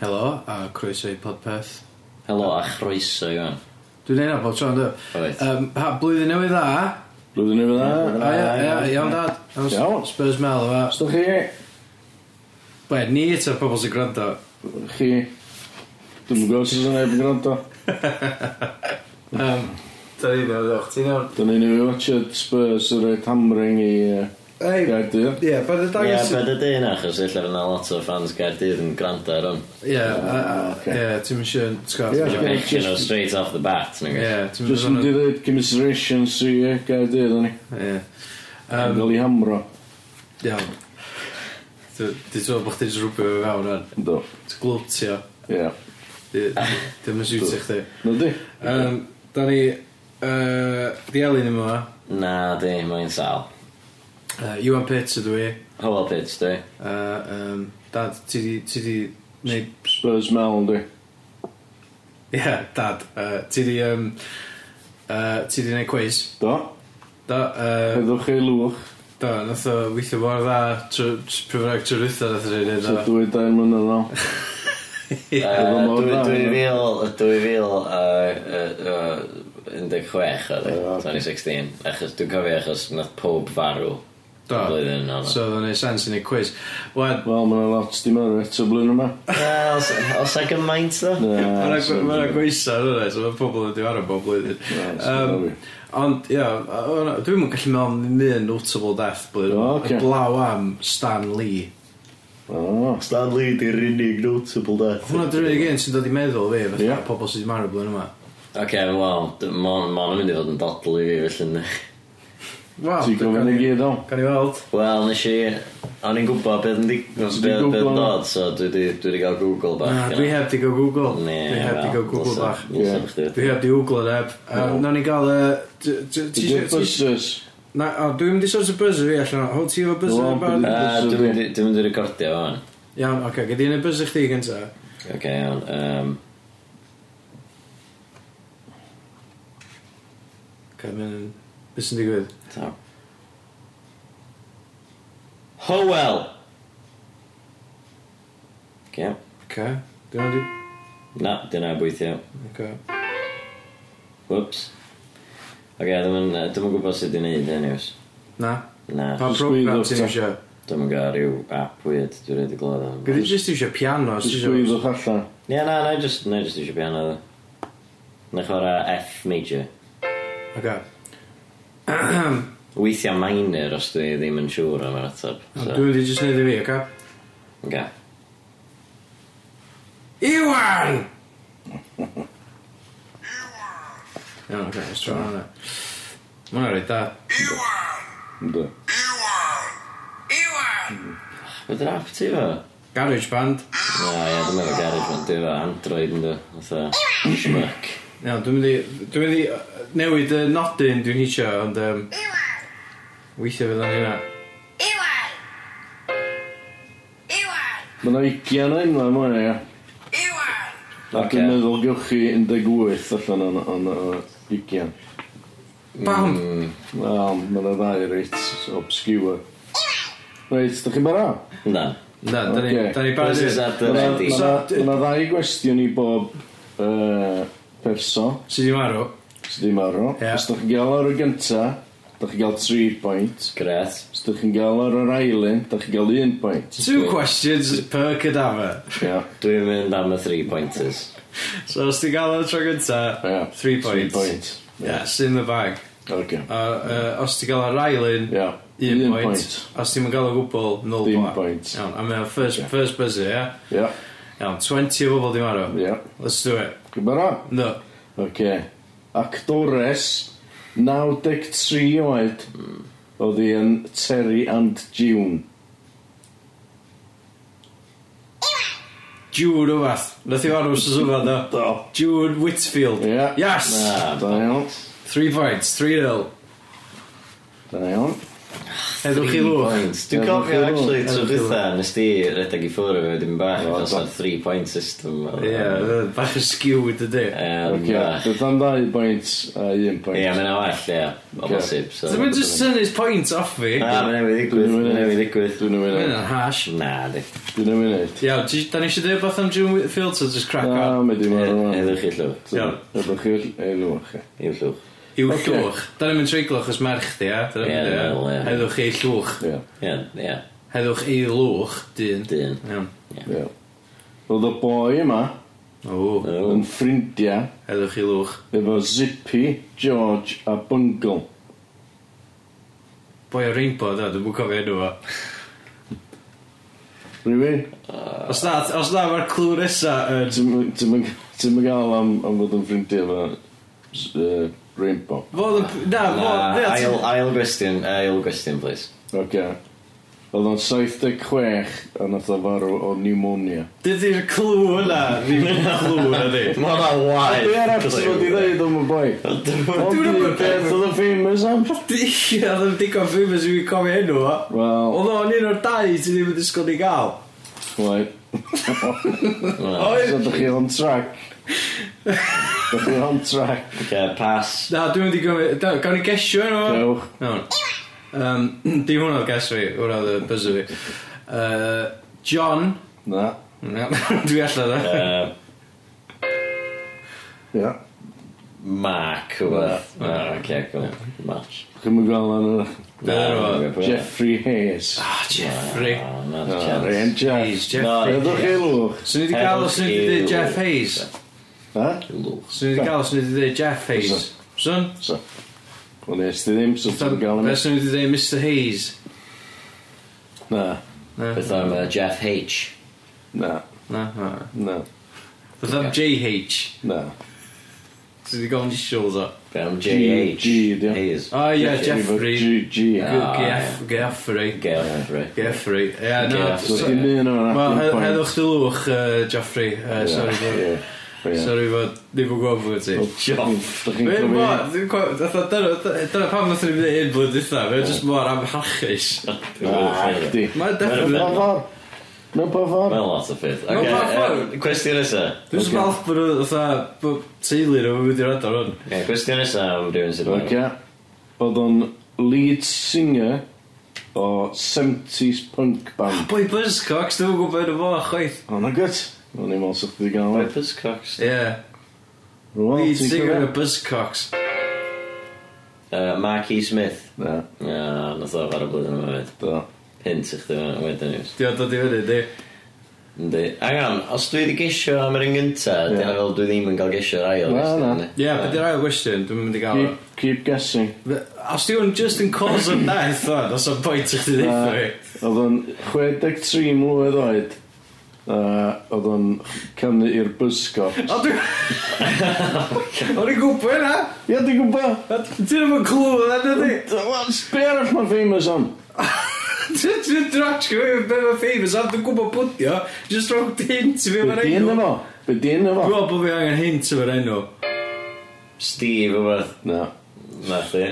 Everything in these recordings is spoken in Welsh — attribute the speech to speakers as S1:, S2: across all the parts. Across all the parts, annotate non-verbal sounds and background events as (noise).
S1: Helo, a croeso i podpeth.
S2: Helo a chroeso i fan.
S1: Dwi'n neud am bod tro'n dweud.
S2: Reit.
S1: Um, ha, blwyddyn newydd dda.
S3: Blwyddyn newydd
S1: A
S3: dda.
S1: ia, ia, iawn dad. Iawn,
S3: Iawn.
S1: Spurs mel efo.
S3: Ystod chi?
S1: Be, ni eto'r pobol sy'n gwrando.
S3: Chi? Dwi'n gwybod sydd yn ebyn gwrando.
S1: Um, da ni ddim yn ddech, ti'n iawn?
S3: Dyna ni fi watched Spurs yn rhoi tamring i
S1: Ei,
S3: Gaerdyr.
S1: ie, bod y
S2: Ie, yeah,
S1: dangos...
S2: beth ydy hynna, achos illa fyna lot o fans Gaerdydd yn gwrando ar hwn.
S1: Ie, a- a-
S3: Ocê.
S1: ie, ti'n mynd si'n sgwrs.
S3: Ie,
S1: Ie,
S2: Dwi'n
S3: ie,
S2: mention nhw
S3: just-
S2: straight off the bat, nag oes?
S1: ti'n mynd
S3: Jyst yn
S1: si'n...
S3: dweud commiserations i yy, Gaerdyr, o'n i.
S1: Ie,
S3: Yn gael ei hamro.
S1: iawn. Dwi- Dwi'n teimlo bod chdi'n rhywbeth fe fewn yn.
S3: Ynddo.
S1: Ti'n glwtio.
S3: Ie.
S1: Dwi'n mynd siwtio chdi.
S3: Na di?
S1: Um, da ni... Uh, di Elin yma.
S2: Na, di, mae'n sal.
S1: Uh, Iwan Pitts ydw i.
S2: Hywel Pits, di.
S1: Uh, um, dad, ti di... Ti di neud... (laughs)
S3: Spurs Mel, di.
S1: Ie, yeah, dad. Uh, ti di... Um, uh, ti di neud quiz.
S3: Do.
S1: Da, uh,
S3: Heddwch chi lwch.
S1: da, nath o weithio mor dda prifrag trwy'r wytho nath o'n neud
S3: So
S1: yna.
S3: dwy dair mlynedd nôl.
S2: Yy,
S3: Efo mor
S2: dwy-
S3: dda,
S2: 2000, 2016 oedd e, 2016, achos dwi'n cofio achos nath pob farw y
S1: Da.
S2: blwyddyn yna.
S1: So oedd o'n neud sens i neud quiz. Wan,
S3: Wel, mae'n lot dim ar eto blwyddyn yma.
S2: Wel, os- Os ag yn maint ddo?
S3: Na, so-
S1: Mae'n gweithio ar hynny, so mae pobl yn diwar am bob blwyddyn.
S3: Ie, so
S1: Um,
S3: sorry.
S1: Ond, ia, dwi'n mynd gallu meddwl am un notable death blwyddyn.
S3: O,
S1: yma.
S3: ocê.
S1: Y Glaw am Stan Lee.
S3: O,
S2: Stan Lee di'r unig notable death.
S1: Hwna dwi'n rhaid gen sy'n dod i meddwl fi, fatha
S3: Ie.
S1: yeah. pobl sydd wedi marw blwyddyn yma.
S2: Ok, wel, d- ma' ma'n mynd i fod yn dodl i fi, felly yndi.
S1: Wel,
S3: Ti'n gofyn i gyd o?
S1: Gan i weld.
S2: Wel, nes i... O'n i'n gwybod beth yn digwydd,
S3: Ti 'di
S2: beth yn
S3: Googlo hwnna?
S2: dod, so dwi 'di- dwi 'di gael Google bach.
S1: Na, dwi heb di go Google. dwi heb di go Google bach. Dwi heb di Google neb. Um,
S3: Iawn.
S1: Nawn ni gael y... t- t- ti
S3: Ti'n
S1: isio- ti isio-
S3: bwysys?
S1: Na, o, Dwi'n mynd i sort o buzzer fi allan. o. Hwyl ti efo buzzer
S3: Wel,
S1: yn barod?
S3: byddi-
S2: Ah, Dwi'n mynd i recordio fan.
S1: Iawn, oce, gyda i'n y buzzer chdi gynta.
S2: Ok, iawn. Um,
S1: Oce, mae'n... Beth sy'n digwydd?
S2: ta. Howell! Ok,
S1: Oce, dwi'n mynd i...
S2: na, dyna bweithio.
S1: Oce.
S2: Whoops. Ok, dwi'n mynd gwybod sut i'n neud hynny oes.
S1: Na.
S2: Na,
S1: Pa
S3: Just squeeze
S1: program ti'n
S3: off, ta.
S1: isio?
S2: dwi'n mynd gael rhyw app weird, dwi'n rhaid i glod am.
S1: Gyda i jyst isio piano, os ti
S3: Jyst
S1: isio...
S3: gwyddwch allan.
S2: Ie, na, na, just, na, just eisiau piano dda. Na chwarae F major.
S1: Oce.
S2: Weithiau minor os dwi ddim yn siŵr am yr ateb.
S1: Dwi'n
S2: So,
S1: mynd i jyst neud i fi, oce?
S2: okay.
S1: Iwan! Iawn, oce, let's try hwnna. Ma' hwnna'n reit da.
S3: Ynddo.
S2: Beth yn app ti fo?
S1: Garage band.
S2: Na, ie, dwi'n meddwl garage fan. Dwi fo Android yn dwi. Fytha, schmuck.
S1: Iawn, dwi'n mynd i... Dwi'n mynd i uh, newid y nodyn dwi'n hitio, ond... Um, weithio fydd o'n hynna.
S3: Mae yna 20 enwa mwyn ia. A
S2: Ocê.
S3: dwi'n meddwl gewch chi 18 allan o'n- o'n o'n 20.
S1: Bam!
S2: Hmm.
S3: Wel, mae yna ddau reit obscure. Reit, da chi'n barod?
S2: Na.
S1: Na, da ni...
S3: Ocê.
S1: Da ni barod
S2: This is
S1: i...
S2: at the
S3: Mae yna-
S2: ready.
S3: mae yna mae yna ddau gwestiwn i bob yy, person
S1: Sydd i marw.
S3: sydd wedi marw.
S1: Ie.
S3: Os da chi'n gael ar y gynta, da chi'n gael 3 point.
S2: Gret.
S3: Os da chi'n gael ar yr ailyn, da chi'n gael 1 point.
S1: Two questions per cadaver.
S3: Ia.
S2: Dwi'n mynd am y three pointers.
S1: So, os ti'n gael o'r tro gynta,
S3: Ia.
S1: three points.
S3: Three points.
S1: Yeah, sy'n the bag.
S3: Okay.
S1: A uh, os ti'n gael o'r railin,
S3: Ia.
S1: Un
S3: Un
S1: point.
S3: point.
S1: Os ti'n gael o gwbl, nil
S3: Dim
S1: bla.
S3: point.
S1: Iawn, a mae'n first,
S3: Ie.
S1: first buzzer, ie?
S3: Ia.
S1: Iawn, 20 o bobl di marw.
S3: Ia.
S1: Let's do it.
S3: Chi'n barod?
S1: No.
S3: Oce. Actores 93 oed oedd hi yn Terry and June.
S1: Jude o fath. Nath i marw sy'n sŵfa, no.
S3: Do.
S1: Jude Whitfield.
S3: Ie.
S1: Yes!
S2: Na.
S3: Da iawn.
S1: Three points, three nil.
S3: Da iawn.
S1: Heddwch i lwch.
S2: points. Dwi'n cofio, actually,
S1: Heddwch i
S2: tro
S1: lwch.
S2: dwytha, nes di redeg i ffwrdd efo dim bach,
S3: O,
S2: achos
S3: do.
S2: o'r 3-point system. ma.
S1: Ie, yy, bach yn skewed ydy.
S2: Yym,
S3: Oce,
S2: bach.
S3: Dwi'n am ddau bwynt a un bwynt.
S2: Ie, mae'n awell, ie, o
S3: Ie.
S2: bosib. so-
S1: Dwi'n mynd just synnu's points off fi.
S2: Na, mae'n newid digwydd, mae'n newid digwydd.
S3: Dwi'n
S1: Mae'n
S3: ymwneud.
S1: yn hash.
S2: Na, di.
S3: Dwi'n ymwneud.
S1: Iawn, ti- da ni eisiau dweud beth am June Fields o just crack
S3: Na,
S2: Um,
S1: on?
S3: mae di marw yma.
S2: Heddwch i llwch.
S1: Iawn.
S3: Ydych chi'r elw chi.
S2: I'w llwch.
S1: I'w
S3: Ocê.
S1: llwch. Da ni'n mynd treiglo achos merch di, ia?
S2: Ie, dwi'n meddwl, ie.
S1: Heddwch i llwch.
S3: Ie,
S2: Ie, ie,
S1: Heddwch i lwch, dyn.
S2: dyn.
S1: Iawn.
S3: ie. Roedd y boi yma
S1: O,
S2: O,
S3: yn ffrindiau
S1: heddwch i lwch.
S3: efo Zippy, George a Bungle.
S1: Boi o Rainbow, da, dwi'n mwyn cofio enw fo.
S3: Rwy'n?
S1: Os na, os na, mae'r clw nesa yn...
S3: Ti'n mynd gael am, am fod yn ffrindiau efo uh, Rainbow.
S1: Fod yn... Na,
S2: Na,
S1: fod... Na,
S2: ail, ail gwestiwn, ail gwestiwn, please.
S3: Ok. Oedd o'n 76 a nath o farw o pneumonia.
S1: Dydy'r clw yna, ddim yn clw yna di.
S2: Mae hwnna'n waith.
S3: Be ar episod wedi dweud am y boi? Ond
S1: Dwi'n
S3: un
S1: gwbod
S3: peth oedd o'n famous am?
S1: Ie, ddim digon famous i fi cofio enw fo.
S3: Wel,
S1: Oedd o'n un o'r dau ti ddim yn disgwyl i gael.
S3: lai. So
S1: Oedd...
S3: dych chi on track. Dych chi on track.
S2: Ie, pass.
S1: Na, dwi'n mynd i gymryd... da- Gawn ni gesio enw fo?
S3: Dewch.
S1: Iawn. Um, (clears throat) di hwnna oedd ges fi, hwnna oedd y buzzer fi. Uh, John...
S3: Na.
S1: Na, (laughs) Dwi allan da.
S2: Yy,
S3: Ia.
S2: Mark, rhywbeth. O, oce, cool. Match.
S3: Chi'n mynd gael yn y...
S1: Be oedd
S2: Na, pwy-
S3: Jeffrey Hayes.
S1: Ah, Jeffrey.
S2: O, na'r
S3: Ah,
S2: chance.
S3: Ryan
S1: Hayes,
S3: Jeff.
S1: Jeffrey.
S3: Feddwch chi lwch.
S1: Swn i wedi gael os ni wedi dweud Jeff Hayes.
S3: Ha?
S2: Lwch.
S1: Swn i wedi gael os ni wedi dweud Jeff Hayes. Swn?
S3: So. Wel nes di ddim, so ti'n gael yn
S1: Be swn i wedi dweud Mr Hayes?
S3: Na.
S1: Na,
S2: Beth am yy, Jeff H.
S3: Na.
S1: na, na.
S3: Na.
S1: Beth am JH?
S3: Na.
S1: Swn i wedi gael initials o.
S2: Be am
S3: G,
S2: JH.
S3: G, ydi o?
S2: Hayes.
S1: O ie,
S3: efo
S1: Jeffrey.
S3: G, G.
S2: Ah,
S1: Geoff- Geoffrey.
S2: Geoffrey.
S1: Geoffrey. Ie, na.
S2: Geoff.
S3: So dim un o'n
S1: Wel, he- heddwch dy lwch, yy, Geoffrey. Yy, Sorry fod...
S3: Sorry.
S1: Sorry fod... Ni fod gwybod fod ti. Fe mo, dwi'n cofio, fatha, dyna dyna pam nath ni'n mynd un blwyddyn eitha, fe jyst mor amhachus.
S3: Chdi.
S1: Mae
S3: Mewn
S1: definitely...
S3: pa ffordd. Mewn pa ffordd.
S2: Mae'n lot o ffydd.
S1: Mewn pa ffordd?
S2: Oce, cwestiwn nesa.
S1: Dwi'n just falch bod nhw, fatha, bod teulu nhw yn mynd i'r adar hwn.
S2: Ie, Cwestiwn nesa am rhywun sydd
S3: Oce.
S2: wedi.
S3: Oedd o'n lead singer o 70s punk band.
S1: Boi Buzzcocks, dwi'n gwybod yn y fo, chwaith.
S3: O'n o'n gyd. O'n i'n meddwl sa'ch wedi gael o'n.
S2: Pepper's Cox.
S1: Ie.
S3: Rwy'n
S1: Lead singer y Buzzcocks.
S2: Yy, Mark E. Smith.
S3: Na,
S2: Na, nath o ar y blwyddyn yma fyd.
S3: do.
S2: Pint i chdi fan wedyn news.
S1: Di o'n dod i fyny, di.
S2: Yndi. Angan, os dwi wedi gesio am yr un gynta,
S3: Ie.
S2: dyna fel dwi ddim yn cael gesio yr ail.
S3: Na,
S2: gwestiwn,
S3: na.
S2: yndi?
S1: Ie, beth i'r ail gwestiwn, dwi'n mynd i gael o.
S3: Keep, keep guessing.
S1: Fe- Os di hwn just yn cause of death, o'n, os o'n pwynt i chdi ddeitha fi.
S3: Yy, Oedd o'n 63 mlwydd oed. a Oedd o'n canu i'r bysgops.
S1: O, (laughs) dwi'n... O'n i'n gwybod yna.
S3: Ie, dwi'n gwybod.
S1: Ti'n efo clw yna, dydi?
S3: Wel, Be arall mae'n famous am?
S1: Dwi'n drach gyfeir be mae'n famous am dwi'n gwybod bwdio Just rhoi hint i fi
S3: Be
S1: o'r
S3: di yn
S1: enw Dwi'n
S3: efo? Be di yn efo?
S1: gwybod bod fi angen hint i o'r enw
S2: Steve, o beth.
S3: Na.
S2: Na, chdi.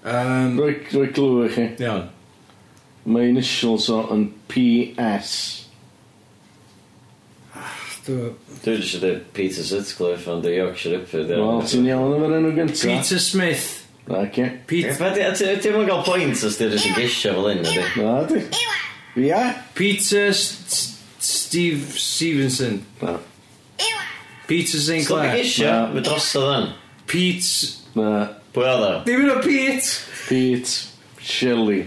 S1: Yym,
S3: Rwy, rwy glw i chi.
S1: Iawn
S3: Mae initials o yn PS.
S1: Dw-
S2: Dwi wedi siarad Peter Sutcliffe ond y Yorkshire Ripper.
S3: Wel, ti'n iawn efo'r enw gynta?
S1: Peter Smith
S3: Na, ce.
S1: Pete-
S2: Ti'n mwyn cael point os ti'n rysio gesio fel un, ydy?
S3: Na, di. Ia?
S1: Peter S- S- Steve Stevenson
S3: Na.
S1: Peter St
S2: Stop i
S1: Clair
S2: gesio,
S3: Na.
S2: fe drosodd yn.
S1: Pete
S3: Na.
S2: Pwy oedd o?
S1: Dim yn o Pete
S3: Pete Shelley.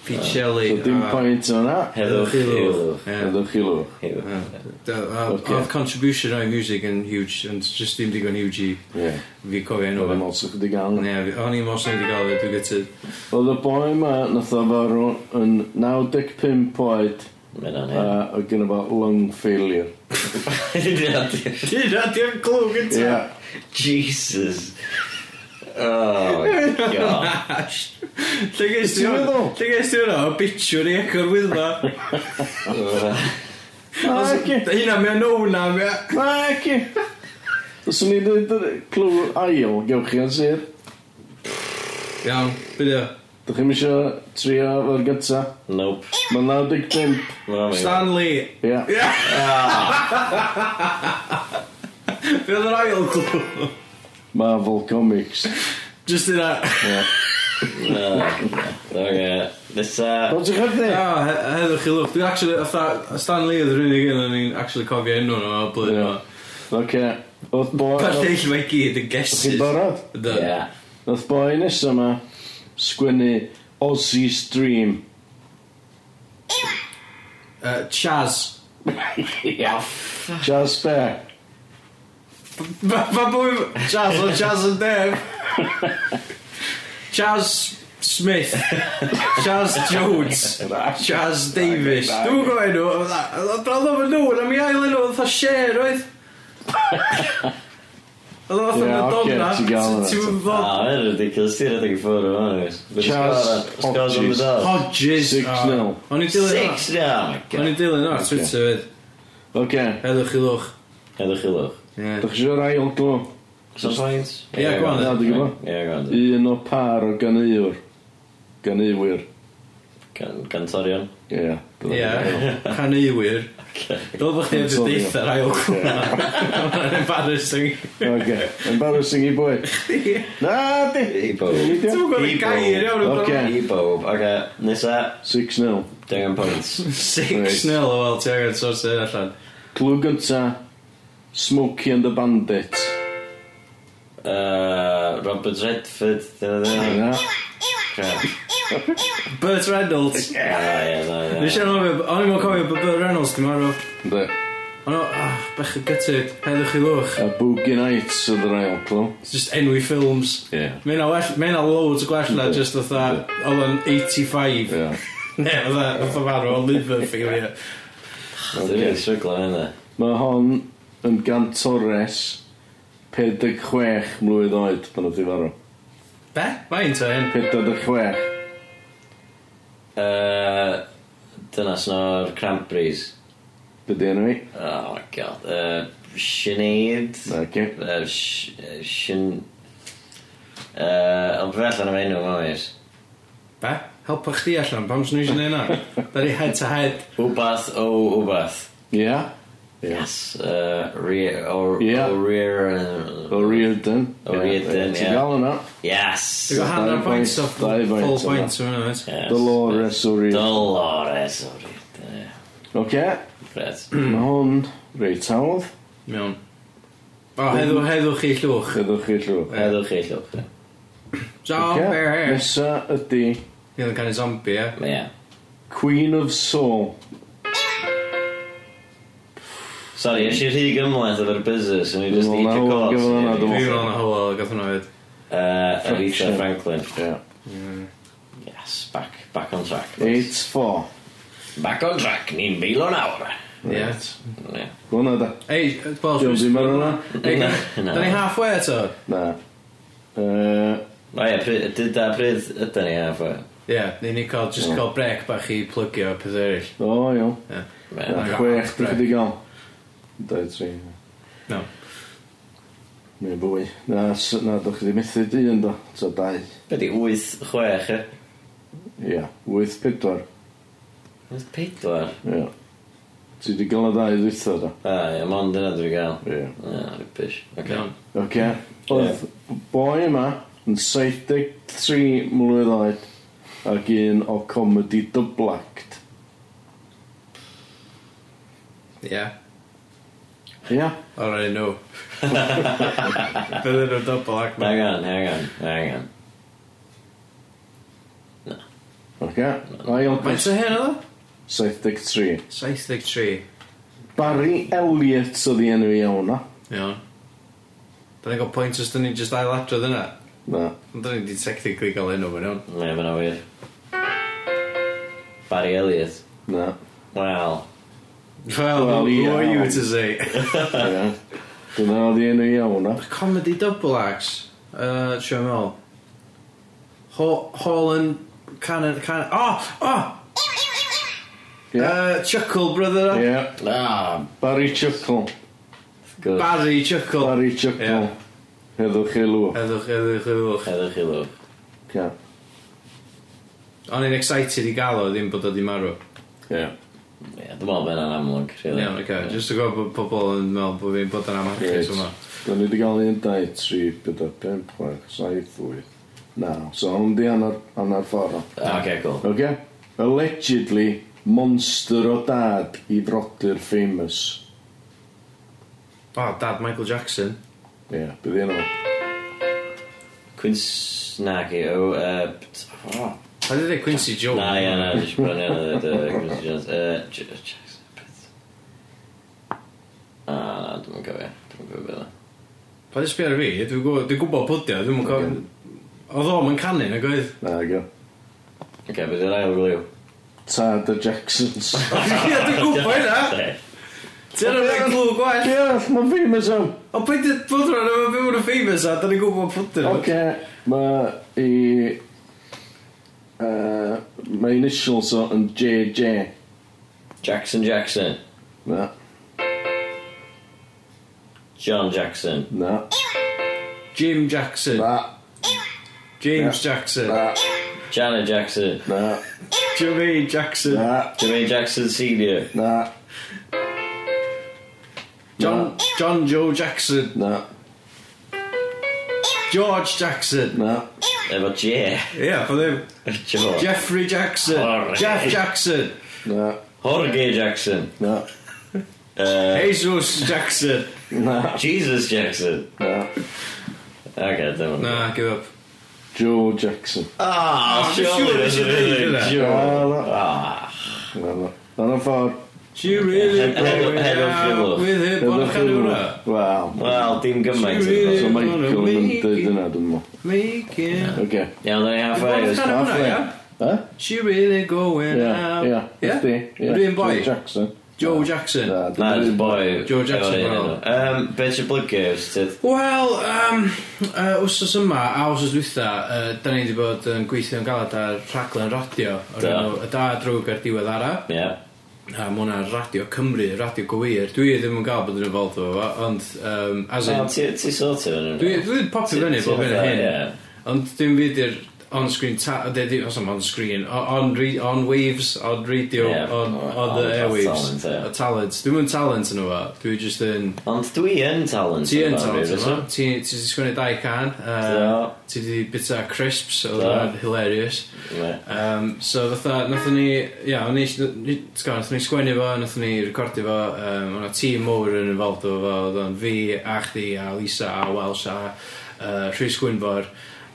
S1: Pete
S3: So
S1: Shelley
S3: dim pwynt o'n na.
S2: Heddwch Heddwch.
S3: Ydwch chi lwch.
S2: Heddwch.
S1: Oedd contribution o'i music yn huge Ond just dim digon huge i
S3: Ie.
S1: fi cofio enw
S3: Oedd
S1: fe
S3: yn olsach wedi gael.
S1: Ie, fi- O'n i'n mos wedi gael e, dwi'n gytid
S3: Oedd y boi ma nath o farw yn 95 oed
S2: Mae'n
S3: a
S2: (laughs) anodd.
S3: oedd gen fo lung failure.
S1: Dwi'n radio'n glw gyntaf
S3: Ie.
S2: Jesus. Oh my god.
S1: Ash. Lle ges ti
S3: Ti'n
S1: hwnna?
S3: meddwl?
S1: Lle ges ti hwnna? O bitchwr i eco'r wydda.
S3: Ac
S1: Hynna mi o'n nowna mi o-
S3: Ac i. Os o'n i dweud clw ail, gewch chi yn sir.
S1: Iawn, bydde.
S3: Dych chi'n misio trio fo'r gynta?
S2: Nope.
S3: Mae'n 95.
S2: No, mate.
S1: Stanley.
S3: Ia.
S1: Be oedd yr ail glw?
S3: Marvel Comics.
S1: Just yna.
S3: Ia.
S2: Oce. Nesa.
S3: Ond ti'n chwerthu?
S1: (laughs) O, he- heddwch chi lwch. Dwi'n actually, fatha, Stan Lee oedd yr unig un o'n i'n actually cofio enw nhw o blwyddyn
S3: Ia.
S1: nhw.
S3: Oce. Oedd boi...
S1: Pa'r
S3: Oedd
S1: lleill mae gyd yn
S3: chi'n
S1: guesses.
S3: barod?
S1: Yndw.
S2: Ie.
S3: Oedd boi nesaf yma sgwennu Aussie's Dream.
S1: Yy, Uh, Chaz.
S3: Charles Bear.
S1: Mae bwy... Chaz o Chaz yn def. Chaz Smith. Chaz Jones. Chaz Davis. Dwi'n gwybod enw. Oedd o'n nhw, na mi ail enw, oedd o share, oedd? Oedd o'n
S3: Ie,
S1: fath
S3: ocê,
S1: o'n
S3: ti'n gael
S1: donna.
S3: hwnna.
S1: Ti'n fod...
S2: Ah, mae'n ridiculous. Ti'n rhaid i ffwrdd o'n anwys.
S3: Charles
S2: Scores on the
S3: Hodges.
S2: dot.
S1: Hodges.
S3: Six
S1: O,
S3: nil.
S1: O'n i'n dilyn o.
S2: Six, yeah. Oh my
S1: O'n
S2: god.
S1: i'n dilyn o ar Twitter fyd.
S3: Oce.
S1: Heddwch i lwch.
S2: Edwch i lwch.
S1: Ie.
S3: Dych chi eisiau'r ail glw?
S2: Some points?
S1: Ie, go on.
S3: Ia, dwi'n gwybod.
S2: Ie, go on.
S3: Un o par o ganeiwr. Ganeiwyr.
S2: Gan- Gantorion.
S3: Ie. dyna
S1: Ie. Pan i wir. Dwi'n bod chdi wedi
S3: Sorry.
S1: deitha ar ail cwna. Mae'n embarrassing.
S3: Oce. Embarrassing i boi. Na,
S2: I
S3: di.
S2: bob.
S1: Ti'n
S3: Neidio.
S1: gwybod ei gair iawn yn
S3: Ocê.
S2: I bob. Oce. Nesa.
S3: 6-0.
S2: Dengan points.
S3: (laughs)
S1: 6 nil o wel, ti angen sort hyn allan.
S3: Clw gynta. Smokey and the Bandit.
S2: Uh, Robert Redford. Dyna dyna.
S3: Na.
S2: Crap.
S1: Burt Reynolds.
S2: Ah, Ie, na, na.
S1: Nes i'n anghofio, o'n i'n cofio bod Burt Reynolds dim arw.
S3: De.
S1: O'n i'n, ah, bech y gytu, heddwch i lwch.
S3: A Boogie Nights oedd yr ail clw.
S1: Just enwi ffilms.
S3: Ie.
S1: Mae yna well, mae yna loads o gwell na just fatha, oedd yn 85.
S3: Ie.
S1: Ne, fatha, fatha farw, o liver failure.
S2: Dwi'n rili stryglo yn hynna.
S3: Mae hon yn gan Torres 46 mlwydd oed pan oedd i farw.
S1: Be? Mae'n ta hyn.
S3: 46.
S2: Uh, Dynas o'r Cranberries.
S3: Be di enw i?
S2: Oh my god. Uh, Sinead.
S3: Na, ci.
S2: Uh, Sh- uh, Shin... Uh, ond fe allan am enw fo mis.
S1: Be? Helpa chdi allan, pam sy'n eisiau neud na? Dari head to head.
S2: Wbath o wbath.
S3: Ie.
S2: oh, Yes. Uh, re- o,
S3: Ie.
S2: o oh, rear... Uh,
S3: O Reardon.
S2: O Reardon,
S3: Ti'n
S2: ie.
S3: gael yna?
S2: yes.
S1: Dwi'n gwybod hanner
S3: Dau
S1: pwynt
S3: pwynt,
S1: off
S3: dau pwynt
S1: full full
S3: yna.
S1: pwynt o'n i'n mynd.
S2: Yes.
S3: Dolores o Reardon.
S2: Dolores o rear. Ie.
S3: Oce.
S2: Brett.
S3: Mae hwn reit hawdd.
S1: Mewn. O, heddw, heddwch chi llwch.
S3: Chydwch chi llw.
S2: Heddwch chi llwch.
S1: Zombie!
S3: Nesa ydy
S1: Ni oedd yn canu zombie, ie.
S2: Ie.
S3: Queen of Soul.
S2: Sorry, eisiau rhy gymlaeth efo'r buzzer, so ni
S3: Dwi'n
S2: just
S3: meddwl
S2: eat
S3: na
S2: your
S3: hwn
S2: cords.
S3: gyfo hwnna,
S1: Dwi'n
S3: dwi'n
S1: meddwl yn y hwyl, gath hwnna fyd.
S2: Uh, Aretha
S3: Fraction.
S2: Franklin.
S3: Ie.
S2: Yes, back, back on track.
S3: 8-4.
S2: Back on track, ni'n fil o'n awr.
S1: Ie.
S2: Ie.
S3: Hwna da.
S1: Ei, wel...
S3: Dwi'n ddim ar hwnna?
S1: Ei,
S2: Na,
S1: da
S2: na.
S1: ni halfway eto?
S3: Na. Yy,
S2: O ie, pryd- dyd a pryd ydy ni a fwy.
S1: Ie, ni ni cael, just cael brec bach i plygio peth eraill.
S3: O, iawn.
S1: Ie.
S3: Na,
S1: Ie.
S3: chwech dwi'n chyddi gael. Dau, tri.
S1: No.
S3: Mae'n fwy. Na, s- na, dwi'n chyddi methu di yn do. Ta dau.
S2: Be di 8, 6, e?
S3: Ie. Wyth pedwar.
S2: Oedd pedwar.
S3: Ie. Ti di gael y ddau ddwytho da.
S2: A ie, mond yna dwi'n gael.
S3: Ie.
S2: Ie, rybys. Oce.
S1: Iawn.
S3: Oce. Oedd boi yma yn 73 mlwydd oed ac un o comedy dyblact.
S1: Ie.
S3: Ie.
S1: All right, no. (laughs) Byddwn nhw'n double ac ma.
S2: Hang on, hang on, hang on.
S3: Oce. Ail
S1: Mae'n
S3: gwrs.
S1: sy'n hyn oedd?
S3: 73.
S1: 73.
S3: Barry Elliott oedd i enw i iawn o.
S1: Iawn. Da ni'n cael pwynt os da ni'n just ailadrodd yna.
S3: Na.
S1: Ond da ni wedi technically cael enw fan iawn.
S2: Ie, fyna wir. Barry Elliott.
S3: Na.
S2: Wel.
S1: Well,
S3: Wel,
S1: who
S3: ie.
S1: are you to say? (laughs)
S3: Ie. Dyna oedd i enw i iawn o.
S1: Comedy double acts. Uh, Trio meddwl. Ho- Holland... Cannon... Cannon... Oh! Oh!
S3: Ie.
S1: Uh, Chuckle, brother.
S3: Ie.
S2: Na,
S3: Barry Chuckle.
S2: good.
S1: Barry Chuckle.
S3: Barry Chuckle.
S1: Ie.
S3: Heddwch chi lw.
S1: Heddwch, heddwch, heddwch.
S2: Heddwch i lwch.
S3: Ie.
S1: O'n i'n excited i gael o, ddim bod o di marw.
S3: Yeah.
S2: Ie, Dwi'n meddwl bod yna'n amlwg, really.
S1: Iawn, oce. Jyst yn gwybod bod pobl yn meddwl bod fi'n bod yn amharchus
S3: Great.
S1: yma.
S3: Da ni wedi cael un, dau, tri, byda, pimp, chwech, saith, wyth. Naw. So, hwn di hanner, hanner ffordd. o.
S2: Oce, Ah, cool.
S3: Okay? Allegedly, monster o dad i frodyr famous.
S1: O, dad Michael Jackson.
S3: Ie, yeah, bydd un o.
S2: Quince... Na, ge, o... uh, t- o,
S1: Pa e di dweud Quincy Jones?
S2: Na, ie, na, jyst brynu yna dweud Quincy uh, Jones. Yy, J- uh, Jackson, Ah, beth? A, na, dwi'n gofio. Dwi'n gofio beth. yna.
S1: Pa di sbio ar fi? Dwi'n gwybod, dwi'n gwybod pwdio, dwi'n mwyn cofio. Oedd o'm yn canu, nag
S3: (laughs)
S1: oedd?
S3: Na, go.
S2: Oce, beth yw'r ail glyw?
S3: Tad y Jacksons.
S1: Ie, dwi'n gwybod hynna!
S2: Te.
S1: Ti'n rhaid glw
S3: Ie,
S1: gwell!
S3: yeah, mae'n famous am.
S1: O, pa di bod rhan yma byw yn y famous a, da ni'n gwybod pwdio.
S3: Oce, mae i... Uh, mae initials o yn JJ.
S2: Jackson Jackson.
S3: Na,
S2: John Jackson.
S3: na,
S1: Jim Jackson.
S3: na,
S1: James Jackson.
S3: na,
S2: Janet Jackson.
S3: na,
S1: Jermaine Jackson.
S3: na,
S2: Jermaine Jackson Senior.
S3: na,
S1: John, John Joe Jackson.
S3: na,
S1: George Jackson.
S3: na.
S2: Efo J. (laughs)
S1: Ie, pa ddim.
S2: George.
S1: Jeffrey Jackson.
S2: Alright.
S1: Jeff Jackson.
S3: Na,
S2: Jorge Jackson.
S3: na,
S2: Uh,
S1: Jesus Jackson.
S3: na,
S2: Jesus Jackson.
S3: na.
S2: Oce, dyma.
S1: Na, give up.
S3: Joe Jackson.
S2: Ah,
S1: Ah,
S2: surely
S1: sure,
S2: that's a
S1: sure,
S2: really
S1: sure.
S3: Na,
S2: Joe.
S3: na,
S2: Ah.
S3: na, na. Dyna ffordd.
S1: She really
S2: Head- head-
S1: going
S2: head of
S1: out
S2: Fiddler.
S1: with her bonacadura.
S3: Wel,
S2: Wel, dim gymaint.
S1: She really-
S3: so Michael yn dweud yna, dwi'n mo.
S1: Making...
S3: Oce.
S2: Iawn, dyn ni halfway. oes?
S1: Bonacadura,
S3: halfway.
S1: ia?
S3: He?
S1: She really going
S3: Ie,
S1: out.
S3: ie,
S1: Yeah?
S3: ydy. ie.
S1: Yr un boi?
S3: Joe Jackson.
S1: Joe Jackson.
S3: Na,
S2: Na,
S3: dwi'n
S2: it's boi.
S1: Joe Jackson,
S2: Efo'r un
S1: wel.
S2: enw. Yym, Be ti'n blygu, os ti...
S1: Wel, um, uh, wsos yma, a wsos dwytha, uh, da ni wedi bod yn gweithio yn galad ar rhaglen radio o'r
S2: Da.
S1: enw Y Da Drwg ar Diwedd Ara.
S2: Ie.
S1: A mae hwnna Radio Cymru, Radio Gywir. Dwi ddim yn gael bod yn involved efo fo, ond um, as
S2: Wel,
S1: in...
S2: ti ti sort of yn
S1: Dwi dwi'n popio
S2: Ti-
S1: fyny
S2: ti
S1: bob hyn a
S2: fatha,
S1: hyn.
S2: ie.
S1: Ond dwi'n fydd i'r on-screen ta... o, Dwi, os am on-screen, o- on, re- on waves, on radio,
S2: Ie,
S1: on,
S2: o-
S1: on the
S2: on-
S1: airwaves.
S2: talent, ie.
S1: O talent. Dwi'n mynd talent yn efo. Dwi'n just yn...
S2: Ond dwi yn talent.
S1: Ti yn
S2: efo,
S1: talent
S2: fi,
S1: yma.
S2: fysa.
S1: Ti ti 'di sgwennu dau can. yy,
S2: Do.
S1: Ti di bita crisps, oedd
S2: Do.
S1: hwnna'n hilarious.
S2: Ie.
S1: Um, so fatha, nathon ni, ia, o'n i, sgan, nathon ni sgwennu fo, nathon ni recordio fo, um, o'na tîm mowr yn involved o fo, oedd o'n fi, a chdi, a Lisa, a Welsh, a uh, Rhys Gwynfor,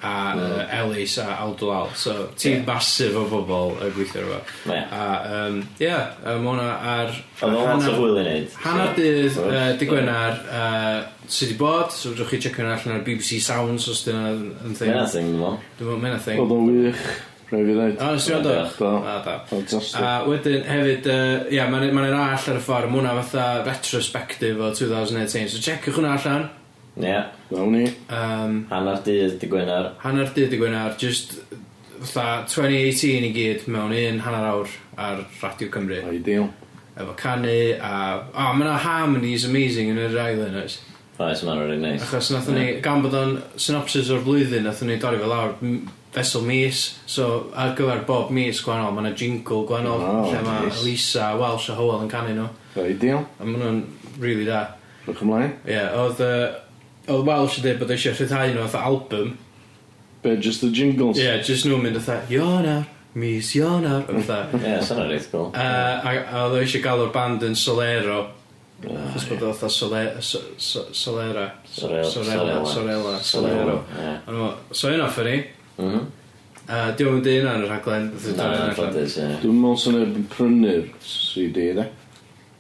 S1: a uh, Elis, a Aldolal. So, tîm
S2: Ie.
S1: masif o bobl yn gweithio ar fo.
S2: Ie.
S1: A, um, ia, um, o'na ar...
S2: Oedd o'n lot o
S1: hanner-
S2: hwyl i wneud.
S1: Hannar dydd, uh, di Gwenar, uh, sydd wedi bod, so fedrwch chi checio hwnna allan ar BBC Sounds os dyna yn thing.
S2: Dyna thing, dwi'n meddwl.
S1: Dwi'n meddwl, mae'n a thing.
S3: Oedd o'n wych, rhaid fi dweud.
S1: O, nes ti'n gwrando?
S3: Do.
S1: A, da. A
S3: Fantastic.
S1: wedyn hefyd, yy, ia, e- mae'n ma arall ar y ffordd, mae hwnna fatha retrospective o 2018, so checiwch hwnna allan.
S2: Ie.
S3: Nawn ni.
S1: Um,
S2: Hannar dydd, dy gwynar.
S1: hanner dydd i gwynar, just fatha 2018 i gyd mewn un hanner awr ar Radio Cymru.
S3: Ideal.
S1: Efo canu a... O, mae yna harmonies amazing yn yr island, oes?
S2: Oes, mae'n rhaid neis.
S1: Achos nathon ni, gan bod o'n synopsis o'r flwyddyn, nathon ni dorri fel lawr m- fesel mis, so ar gyfer bob mis gwahanol, mae yna jingle gwahanol,
S3: Wow,
S1: lle mae
S3: nice.
S1: Elisa, Welsh a Howell yn canu nhw,
S3: Ideal.
S1: a maen nhw'n really da.
S3: Bych ymlaen.
S1: Ie, yeah, oedd, uh, oedd Welsh yn dweud bod eisiau rhyddhau nhw fatha album,
S3: Be, just the jingles.
S1: ie, yeah, jyst nhw'n mynd fatha, Ionar, mis Ionar, fatha.
S2: Ie, sy'n rhaid cool.
S1: Uh, a, a oedd eisiau galw'r band yn Solero, achos bod oedd fatha Sole- So- So- Solera,
S2: Sorel-
S1: Sorella, Sorella, Solero.
S2: Ie.
S1: Ond mo- So yna ffynu,
S2: Mhm.
S1: Uh, Di o'n mynd i hynna yn y rhaglen Nath o'n dod yn y
S2: Na, yn
S1: rhaglen.
S2: ffodus, ie.
S3: Dwi'n meddwl sy'n ebyn prynu'r CD, de.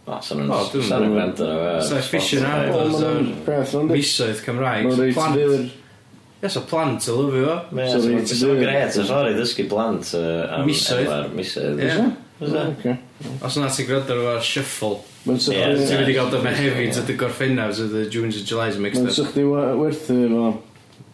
S2: O, sy'n rhaid.
S1: O, dwi'm-
S2: Sy'n rhaid gwrando ar fe.
S1: Sa efficient
S2: Spotify.
S1: ar-
S3: Wel,
S1: Oedd
S3: ma'n
S1: o'n-
S3: beth o'n di.
S1: Misoedd Cymraeg
S3: Mae'n
S1: so
S3: reit
S1: plant-
S3: fyr.
S1: Ie, so plant y lyfio fo
S2: Ie,
S3: So
S2: so
S3: reit
S2: Mae'n
S3: fyr.
S2: gret, yn ffordd i ddysgu blant yy, am
S1: Misoedd.
S2: efo'r misoedd.
S1: Ie.
S2: Fysa?
S3: Oce.
S1: Os yna ti'n gwrando ar efo'r shuffle
S3: Mae'n
S2: Ie,
S1: Ti'n
S3: sy'ch
S1: wedi cael dyma hefyd at y gorffennaf Sydd y Junes and July's yn mixed up
S3: di wa- werthu fo.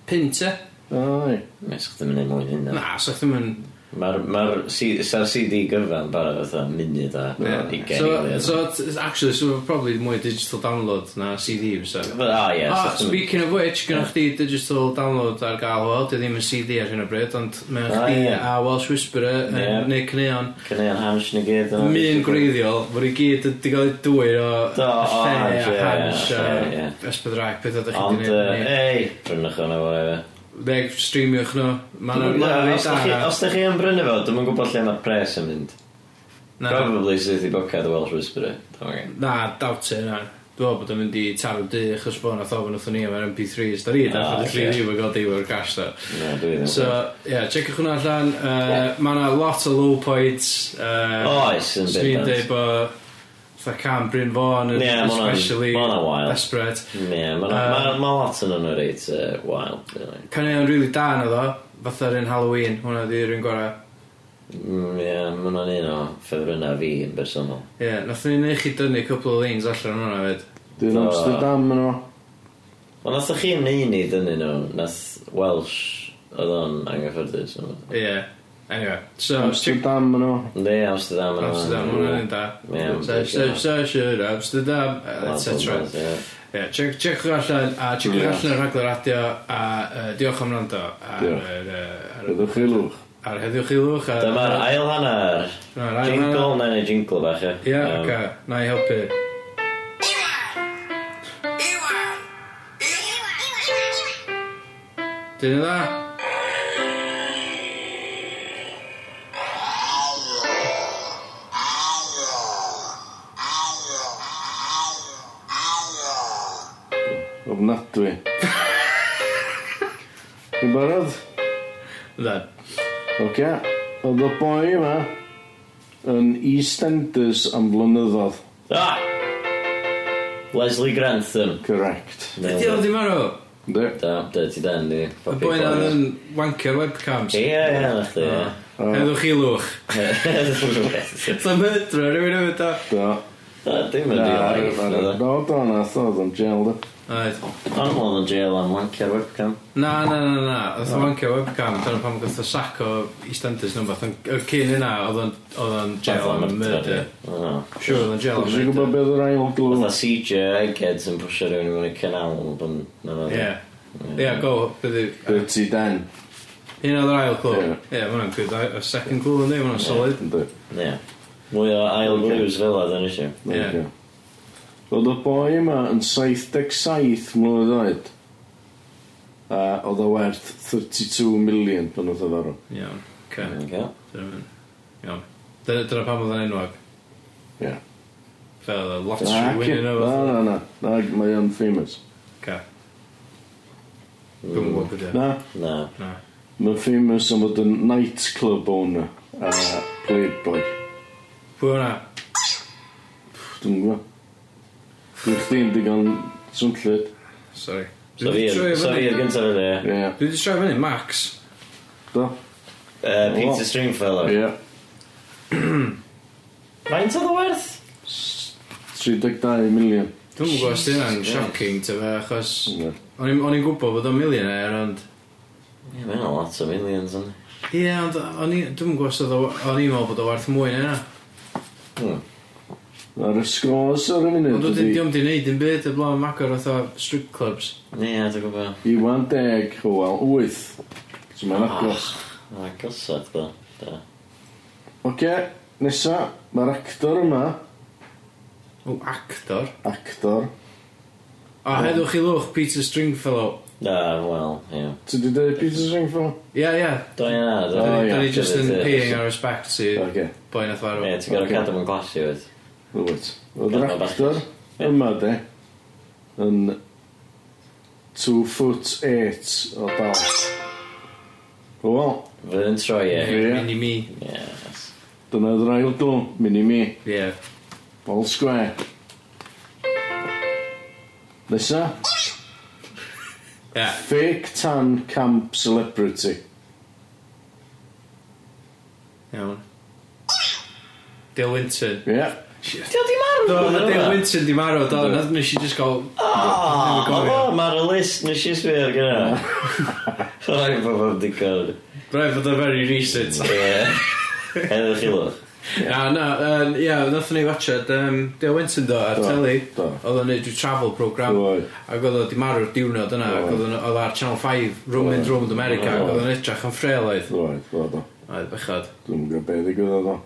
S1: Pint e?
S3: Ai.
S2: Mae sych ddim yn ei mwyn hynna.
S1: Na, so chdi mynd
S2: Mae'r ma CD gyfan barod fatha munud a ugain
S1: So,
S2: eiliad.
S1: so it's actually, so probably mwy digital download na CD fysa.
S2: O ie.
S1: Ah,
S2: so-
S1: speaking of which, gynnwch chdi digital download ar gael wel, dio ddim yn CD ar hyn o bryd, ond mae
S2: Ah,
S1: chdi
S2: ie.
S1: a Welsh Whisperer yn
S2: Ie. Ah,
S1: neud cyneuon
S2: Cyneuon haws ni gyd yna.
S1: mi'n gwreiddiol, fod i gyd wedi cael ei dwyr o
S2: Do, o,
S1: lle
S2: haws,
S1: a
S2: ie,
S1: hans
S2: ie,
S1: a
S2: ie.
S1: ysbydrac, beth ydych chi'n
S2: Ond,
S1: gwneud.
S2: ei, brynwch hwnna fo efo.
S1: Neu streamiwch nhw. Mae'n
S2: Ie, os dach chi-
S1: rhaid
S2: Os dych chi yn brynu fo, dwi'n gwybod lle mae'r pres yn mynd.
S1: na.
S2: Probably sydd i bocad y Welsh Whisperer. Dwi'm yn gwbod.
S1: Na, doubt it, na. Dwi'n meddwl bod o'n mynd i taro dy, achos bod o'n athofyn wrthyn ni am yr MP3s. Da ni, da,
S2: Ah,
S1: da ni
S2: ocê.
S1: ddim yn gael diwyr cash, da.
S2: Na, dwi ddim.
S1: So, ie, yeah, checiwch hwnna allan. Uh, Mae yna lot o low points. Uh,
S2: Oes, yn
S1: Swn i'n
S2: bendant.
S1: dweud bod fatha Cam Bryn Fawn yn
S2: Ie, ma' hwnna'n-
S1: especially
S2: ma' hwnna'n wild.
S1: desperate.
S2: Ie, mae
S1: Um,
S2: lot yn nhw reit uh, wild. really.
S1: Caneuon rili really da yna ddo, fatha'r un Halloween, hwnna di'r un gorau.
S2: Mm, Ie, mae hwnna'n un o ffefrynnau fi yn bersonol.
S1: Ie, yeah, nath ni'n neud chi dynnu cwpl o lanes allan hwnna fyd.
S3: Dwi'n
S2: Do.
S3: Amsterdam yn o.
S2: Ond nath chi neud ni dynnu nhw, nath Welsh oedd o'n anghyffyrddus. yn oedd?
S1: Ie. Yeah. Anyway, so, checiwch
S3: Amsterdam yn o.
S2: Yndi, Amsterdam yn
S1: Amsterdam, hwnna'n un da.
S2: Ie,
S1: Search, search, search, it, Amsterdam, etc. Ie, check- checiwch allan, a checiwch
S3: Ie.
S1: allan y rhaglen radio, a yy, diolch am wrando ar
S3: Diolch.
S1: yr, yy, ar-
S3: Ydych chi lwch.
S1: ar heddiwch i lwch. a-
S2: Dyma'r ail hanner.
S1: Dyma'r ail
S2: Jingle,
S1: hanner.
S2: na ni jingle bach, ie.
S1: Ie,
S2: Yym,
S1: oce, na i helpu. Dyn ni dda?
S3: Ofnadwy. Chi'n barod?
S1: Dda.
S3: Oce. Oedd y boi yma yn EastEnders am flynyddoedd.
S2: Ah! Leslie Grantham.
S3: Correct.
S1: Ydy o ddim arw?
S3: De.
S2: Da, dirty den, di.
S1: Y boi na yn Oh. wanker webcams.
S2: Ie, ie, na chdi, (laughs) ie.
S1: Heddwch i lwch. So mydro, rhywun yn mynd o.
S3: Do.
S2: Na, Dim yn real life.
S3: Do,
S2: oedd o.
S3: do, nath oedd yn jail, do.
S1: Oed.
S2: Ond oedd yn jail am wanker webcam.
S1: Na, na, na, na. Oedd o'n wancio webcam, dyna pam gath o sac o EastEnders nhw'n fath. Y cyn yna, oedd o'n- oedd o'n jail am y murder. Siwr, oedd o'n jail
S3: Dwi'n
S1: am y
S3: siŵr gwybod
S1: murder.
S3: beth yr ail glw.
S2: Oedd a CJ Eggheads yn pwysio rhywun i mewn i canal yn bwn.
S1: Ie. Ie, go, byddu.
S3: Dirty Den.
S1: Un oedd yr ail clw.
S3: Ie.
S1: Ie, ma' hwnna'n good. A- a second clw, yndi? Ma' hwnna'n solid.
S3: Ynddi.
S2: Ie. Mwy o ail blues fel oedd yn eisiau.
S1: Ie.
S3: Ocê. Oedd y boi yma yn 77 mlynedd oed. A oedd o werth 32 milion pan oedd o farw.
S1: Iawn, oce.
S2: Ie.
S1: Dyna ma'n- iawn. Dyna- dyna pam oedd o'n enwog.
S3: Ie.
S1: Fel y lottery
S3: Naci.
S1: winner o
S3: Na,
S1: fath.
S3: na, na. Na, Mae o'n famous.
S1: Oce. Dwi'm yn gwbod be' 'di o.
S3: Na,
S2: Na.
S1: Na.
S3: mae'n famous am fod yn nightclub owner a playboy.
S1: Pwy oedd hwnna?
S3: Dwi'n gwybod. Dwi'n chdi'n digon swnllid.
S1: Sorry.
S2: So
S1: Dwi 'di
S2: fi
S1: troi
S2: so fi
S1: fyny-
S2: yr gyntaf yn e.
S3: Ie.
S1: dwi 'di troi fyny Max.
S3: Do?
S2: Peter Stringfellow.
S3: Ie.
S2: Faint oedd o werth?
S3: 32 milion.
S1: Dwi'm yn gwybod os di hynna'n
S2: Jesus
S1: shocking to fe, achos
S3: Ie.
S1: o'n i'n o'n i'n gwybod bod o'n millionaire, ond...
S2: Ie, mae'n lot o millions yn.
S1: Ie, ond o'n i- dwi'm yn gwybod os oedd o- o'n i'n meddwl bod o werth mwy na yna.
S3: Ar y scores ar y
S1: Ond
S3: munud
S1: dwi'n
S3: ydi
S1: ddim di wneud yn byd y blaen magor oedd o strip clubs.
S2: Ie, dwi'n gwybod.
S3: Iwan deg, o wel, wyth. So mae'n agos.
S2: A gosod, da. Da.
S3: Oce, nesa, mae'r actor yma,
S1: O, actor.
S3: actor,
S1: A heddwch i lwch, Peter Stringfellow.
S2: Da, wel, ie.
S3: ti di dweud Peter Singford?
S1: Ie, ie.
S2: Do, ie, na. do.
S3: O, ie.
S1: Da ni just yn
S2: Ie,
S1: paying our respect i
S3: Oce,
S1: boi nath farw.
S2: Ie, ti'n gorau
S3: Ocê.
S2: cadw mewn glasi, wyt.
S3: rwyt. Oedd yr
S2: Gadal bach.
S3: actor yma, de, yn 2 foot 8 o dal. O wel,
S2: Fydd yn troi, e. ie.
S3: Ie.
S1: Mini me.
S2: Yes.
S3: dyna oedd yr ail glw, mini mi,
S1: Ie.
S3: all square. Nesa,
S1: Ie.
S3: fake tan camp celebrity.
S1: Iawn. Dale Winton.
S3: Ie,
S2: Ti'n di marw?
S1: Do, na
S2: Dyna.
S1: Dale Winton di marw, do. Na nes i just gael...
S2: O, Oh,
S1: gofio.
S3: (laughs)
S2: mae'r list nes i sbio ar gyda. Rhaid bod yn digon.
S1: Rhaid fod o very recent.
S2: Ie. Heddwch chi lwch.
S1: Na, na, yym, ie, nathon ni watchad, um, Dale Winton do, ar
S3: Do,
S1: teli,
S3: do.
S1: oedd o'n neud ryw travel program,
S3: Oedd.
S1: ac oedd o di marw'r diwrnod yna, ac
S3: Oedd.
S1: oedd o'n- oedd o ar Channel 5, Roman
S3: Oedd.
S1: Round America, ac
S3: Oedd.
S1: oedd o'n edrych yn ffreloedd.
S3: Roedd, roedd o.
S1: Oedd bechod.
S3: Dwi'n gwybod beth i gwybod o.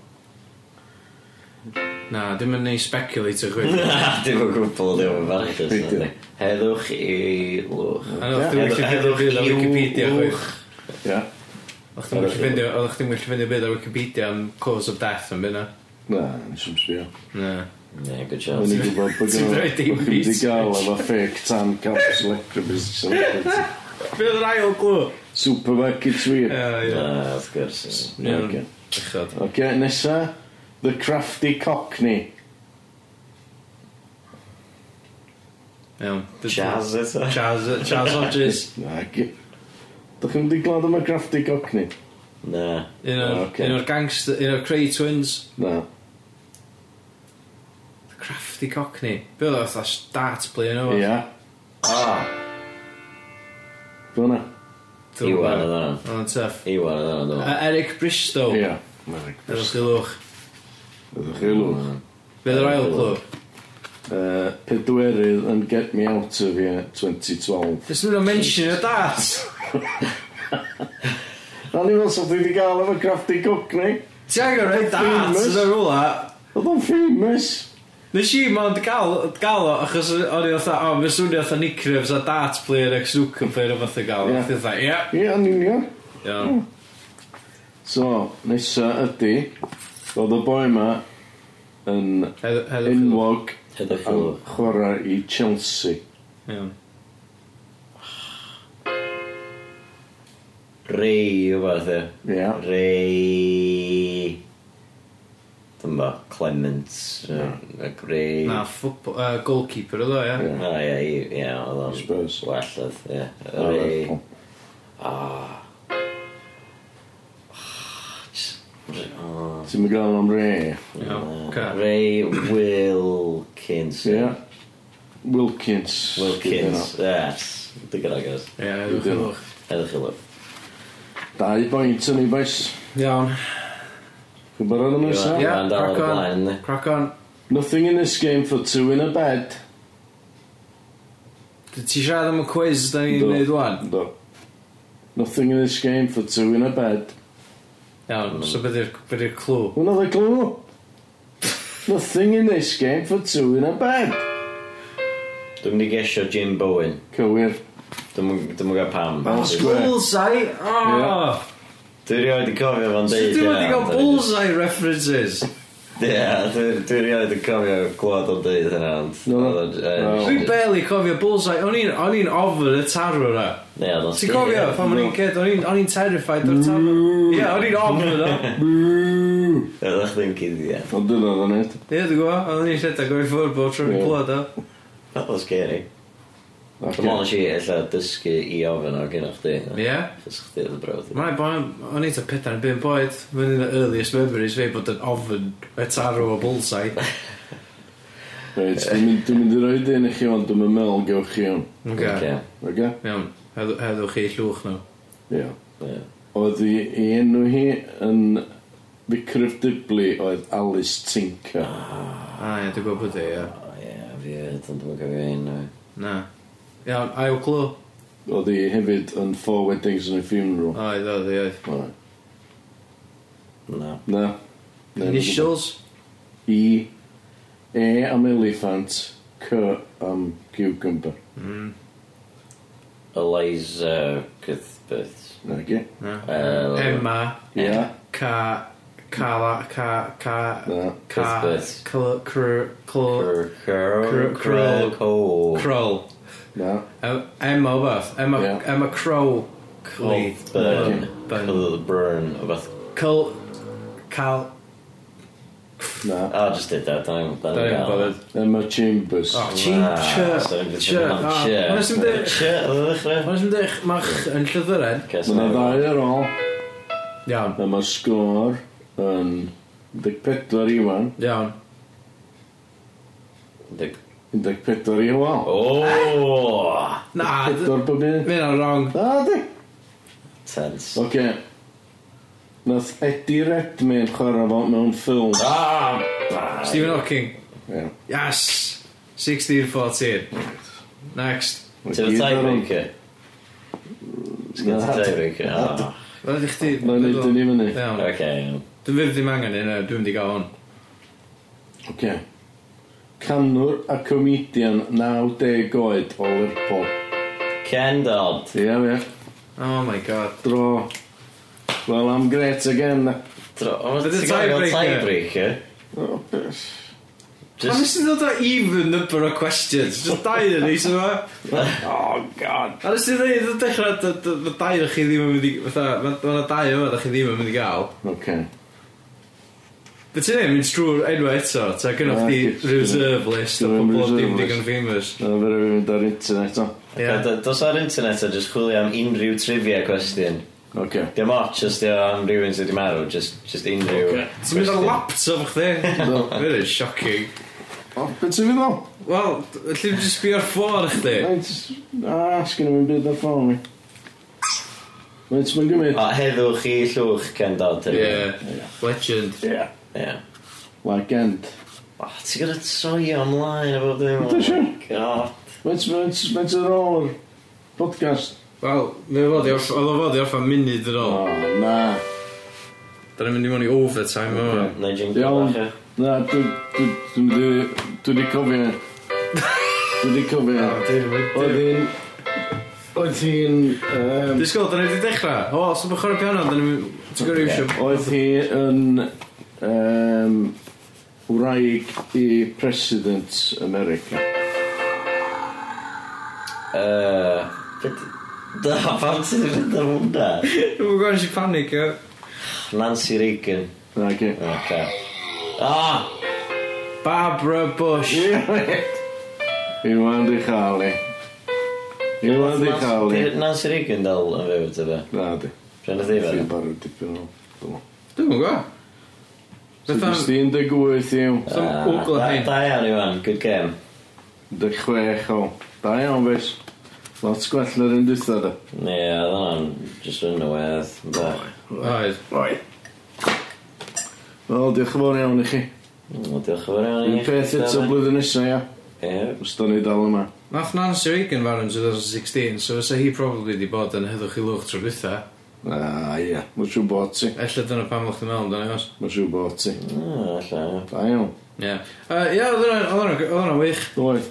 S1: Na, dim yn neud speculate o chwyd.
S2: Dim o gwbl, dim o'n
S3: Peidio.
S2: barchus. Heddwch i lwch.
S1: A oedd
S3: Ie.
S1: ddim yn gallu ffeindio byd ar
S2: Heddwch i'w
S1: Wikipedia chwyd.
S2: lwch.
S3: Ia.
S1: Oedd chdi'n gallu ffeindio, oedd chdi'n gallu ffeindio byd ar Wikipedia am cause of death yn byd na.
S3: Na, nes i'n sbio.
S1: Na.
S2: Ie, good
S3: O'n
S2: shots.
S3: i'n gwybod bod
S1: Ti'n
S3: gynno-
S1: rhoi dim
S3: bod chi wedi
S1: research.
S3: gael efo fake tan caps electrobus celebrity.
S1: Fe oedd yr ail glw.
S3: Supermarket sweep.
S1: Ie,
S2: Na, wrth gwrs.
S1: ie.
S3: Ie, oce.
S1: Bechod.
S3: Oce, nesa. The Crafty Cockney.
S1: Iawn.
S2: Jazz eto.
S1: Chaz, Chaz Hodges. (laughs)
S3: Na, ge. Dych chi'n wedi glad am y Crafty Cockney?
S2: Na.
S1: Un
S3: Oh,
S1: o'r
S3: ocê.
S1: okay. gangster, un o'r Cray Twins
S3: Na.
S1: Crafty Cockney Be oedd oedd start play yn o'r
S3: Ia.
S2: Ah,
S3: Fyna.
S2: Iwan oedd hwnna.
S1: Ond tough
S2: Iwan oedd hwnna, dwi'n
S1: A Eric Bristow
S3: Ia.
S1: Efo chdi lwch
S3: Ydych chi lwch.
S2: Mm.
S1: Be oedd yr ail clwb
S3: Yy, Pedwerydd yn Get Me Out of Here 2012.
S1: Dys nhw'n o'n mention y dat
S3: Na ni fel sa'ch wedi gael efo Crafty Cockney.
S1: Ti angen rhaid dat
S3: Famous.
S1: yn y rwla
S3: Oedd o'n famous.
S1: Nes i mond gael, gael o Achos o'n i oedd O, mae'n swnio oedd nicknames a dat player ac snooker player o fath o gael
S3: Ie.
S1: Oedd oedd ie
S3: Ie, yn union.
S1: Iawn
S3: So, nesa ydy, oedd y boi yma yn
S1: Heddwch chi lwch
S3: enwog
S2: Heddwch i
S3: am
S2: lwch.
S3: chwarae i Chelsea.
S1: Iawn
S2: Rei rhywbeth e.
S3: Ie.
S2: Rei... Dwi'n ba, Clement. Ac rei...
S1: Na, football, uh, goalkeeper oedd o, ie
S3: Ie.
S2: O ie, i- ie, oedd o'n...
S3: Spurs.
S2: Well, oedd, ie.
S3: O,
S2: Rei...
S3: Lerpwl.
S2: Ah. Jyst- o,
S3: Ti'n mynd gael am re.
S1: Iawn,
S2: na.
S1: oce
S2: Ray Wilkins.
S3: Ie. Wilkins.
S2: Wilkins, yes. Dwi'n gyda gos.
S1: Ie, heddwch chi lwch
S2: Edrych chi lwch.
S3: Dau boint yn ei boes.
S1: Iawn
S3: Chi'n barod am nesa?
S2: Ie.
S1: Ie,
S2: Ma'n dal ar y
S1: crack
S2: blaen,
S1: on.
S2: ne?
S1: Crack on.
S3: Nothing in this game for two in a bed.
S1: Dwi- Ti siarad am y quiz da ni'n
S3: Do.
S1: neud wan?
S3: Do. Nothing in this game for two in a bed.
S1: Iawn, so beth yw'r clw?
S3: Hwna dda glw. Nothing in this game for two in a bed.
S2: Dwi'n mynd i gesio Jim Bowen.
S3: Cywir.
S2: Dwi'n gwybod pam.
S3: Fel
S2: Dwi-
S3: sgwe-
S1: Bullseye?
S3: Ie.
S1: Oh!
S2: Dwi rioed i cofio fo'n
S1: So
S2: deud.
S1: Dwi wedi
S2: hynna,
S1: cael
S2: ond o'n i jyst-
S1: bullseye references.
S2: Ie, dwi- dwi rioed yn cofio glod o'n deud hynna, ond...
S3: No.
S2: oedd o'n-
S3: No.
S2: yy,
S1: Dwi'n
S2: jyst-
S1: barely cofio bullseye. O'n i'n- o'n i'n ofyn y tarw na.
S2: Ie, oedd o'n
S1: Ti'n cofio?
S2: scary.
S1: Pan o'n i'n ged, o'n i'n- o'n i'n terrified o'r tarw. Ie, o'n i'n ofyn o.
S3: (laughs) Bww.
S2: Oedd o'ch ddim cyd i ddeall.
S3: Ond dyna dda net.
S1: Ie, dwi'n gwybod. O'n i'n lledag o'i ffwrdd bod tro'n
S3: Ie.
S1: clywed o.
S2: Oedd o'n scary. Dwi'n meddwl
S3: Oce.
S2: si ella dysgu i ofyn o gynnwch chdi.
S1: Ie?
S2: Chos chdi oedd y brawd.
S1: Mae'n boi, o'n i'n ta pedair yn bum boed. Mae'n un o earliest memories fi bod yn ofyn y tarw o bullseye.
S3: e, Reit, dwi'n mynd- dwi'n mynd i roi dyn i chi ond dwi'n meddwl gewch chi hwn.
S1: Okay.
S2: Oce,
S3: Oce?
S1: Iawn, heddw- heddwch chi llwch nhw.
S3: Ie.
S2: ie.
S3: Oedd i, i enw hi yn Vicryf Dibli oedd Alice Tinker.
S1: A ie, dwi'n gwybod bod e, ie.
S2: O, ie, fi oedd, ond dwi'n cofio un. o.
S1: Na. Iawn, ail glw.
S3: Oedd hi hefyd yn Four Weddings and a Funeral.
S1: Oedd, oedd, oedd.
S3: Alright.
S2: Na.
S3: Na. Na,
S1: Initials?
S3: I E am elephant C am cucumber
S2: Eliza uh, Cuthbert.
S3: Na ge?
S1: Na.
S2: Yy,
S1: Emma.
S3: Ia
S1: Ca... Cala... Ca... Ca...
S3: Na
S1: Ca...
S2: Cuthbert.
S1: Cl... Cr... Cl...
S2: Cr- Cr-
S1: Cr- Cr-
S2: Cr- Cr-
S1: Croll.
S3: Na
S1: Em- E, Emma o beth. Emma...
S3: Ie.
S1: Emma Crow. Cli.
S2: Cuthbert.
S1: Bun.
S2: Cuthbert. O beth.
S1: Cl... Cal...
S3: Na
S2: O, just did that. Dwi'n
S1: Da ni'n bothered.
S3: Emma Chambers
S1: O, chi... Ch... Ch... Ond ysym dech...
S2: Ch, oedd y ddechrau?
S1: Ond ysym dech... Mach yn llythyrau.
S2: Cas-
S3: Mae na ddau ar ôl
S1: Iawn.
S3: A mae sgôr yn 14 i wan
S1: Iawn.
S2: Deg-
S3: 14 i wan
S2: O!
S1: Na, d-
S2: Oh,
S3: Pedwar bob un
S1: Mae hynna'n wrong.
S3: A di
S2: Tense.
S3: Oce Nath Eddie Redmayne chwarae fo mewn ffilm.
S2: Ah!
S1: Stephen Hawking.
S3: Ie.
S1: Yes! 16-14. Next.
S2: Ti'n y
S3: Gyd ar hwn.
S2: tiebreaker? Ti'n y tiebreaker? Ah,
S1: Wel, ydych chdi...
S3: Na, neud yn i fyny.
S1: Iawn.
S2: oce. iawn.
S1: Dwi'n fydd ddim angen un, dwi'n mynd i gael hwn.
S3: Oce. Canwr a comedian 90 oed o Lerpol.
S2: Ken Dodd.
S3: Ie, ie.
S1: Oh my god.
S3: Dro. Well, I'm great again. na.
S2: Dro- o,
S1: Be' 'di
S2: ti'n gael
S1: tiebreaker?
S2: tiebreaker?
S3: O, beth.
S1: Pan
S2: Just...
S1: nes ti ddod o even number o questions? Just dau yn eis yma.
S3: Oh, God.
S1: A nes ti ddweud o dechrau, dy- dy- dy dau o'ch chi ddim yn mynd i... Fatha, ma' ma' 'na dau yma o'ch chi ddim yn mynd i gael.
S3: Oce.
S1: Be ti'n ei mynd trwy'r enwau eto? Ta gynnwch
S3: Na,
S1: chi
S3: dwi'n-
S1: reserve list o
S3: dwi'n
S1: bobl
S3: reserve
S1: ddim
S3: list.
S1: digon famous.
S3: Na, fyr efo'n mynd ar internet o.
S1: Ie.
S2: Oce, d- Dos ar internet a just chwilio am unrhyw trivia question.
S3: Oce.
S2: Dim ots os di o am rhywun sydd wedi marw, just, just unrhyw
S3: Oce.
S1: Ti'n mynd ar laptop chdi?
S3: Do.
S1: Fydd yn shocking.
S3: O, beth sy'n fydd o?
S1: Wel, lle ti'n sbio ar ffôn chdi?
S3: Reit, A, sgyn nhw'n byd ar ffôn mi. Reit, mae'n gymryd.
S2: A heddwch i llwch Ken Dodd. hefyd.
S1: Yeah, legend.
S3: Ie.
S2: Ie.
S3: Like end.
S2: O, ti'n gyda troi e ymlaen efo ddim?
S3: Yndw, siŵr.
S2: Oh God.
S3: Reit, mae'n ar ôl yr podcast.
S1: Wel, mae fod i orff- oedd o fod i orffan munud yn
S3: O,
S1: ôl.
S3: na.
S1: Da ni'n mynd i mewn i overtime o.
S3: Ocê.
S2: Na i jingle
S3: Iawn.
S2: bach, e. ie.
S3: Na, dwi- dwi- dwi wedi... Dwi wedi cofio. Dwi wedi cofio. Oedd hi'n... Oedd hi'n... yym,
S1: Disgwyl, da ni wedi dechrau. O, os yw'n chwarae piano, da ni'n... Ti'n gwybod eisiau...
S3: Oedd hi yn um, wraig i President America.
S2: Yy, beth- Da, (laughs) pam ti'n fynd ar hwnna?
S1: Dwi'n gwybod eisiau panic, ie.
S2: Nancy Reagan.
S3: Nag i.
S2: Oce. Ah!
S1: Barbara Bush.
S3: Iwan di chael i. Iwan di chael i.
S2: Di Nancy Reagan dal yn fyw, ty fe.
S3: Na di.
S2: Pryn y ddifar.
S3: Fi'n barod dipyn o. dwi'n meddwl.
S1: Dwi'n gwybod.
S3: So
S1: Beth am...
S3: jyst un deg wyth i'w.
S1: So, Google hyn.
S2: Ah, Da iawn, Iwan. Good game.
S3: Deg chwech o. Da iawn fes. Lot gwell na'r un dwytha da.
S2: Ie, oedd hwnna'n just yn y wedd. bach.
S1: Oed.
S3: Oi. Wel, diolch yn fawr iawn i chi.
S2: Mm, Diolch yn fawr iawn i
S3: Un peth eto
S2: Stefan.
S3: blwyddyn nesa, ia.
S2: Ie.
S3: Os da ni dal yma.
S1: Nath Nancy Reagan farw yn 2016, so fysa hi probably wedi bod yn heddwch i lwch trwy bytha.
S3: Ah, ia. Mae'n siw bod ti.
S1: Ella dyna pam o'ch ti'n meddwl amdano i os.
S3: Mae'n siw bod ti.
S2: Ah, Alla.
S3: Da iawn.
S1: Ie. Yy, Ie, oedd hwnna- oedd hwnna- oedd hwnna'n wych.
S3: Oedd.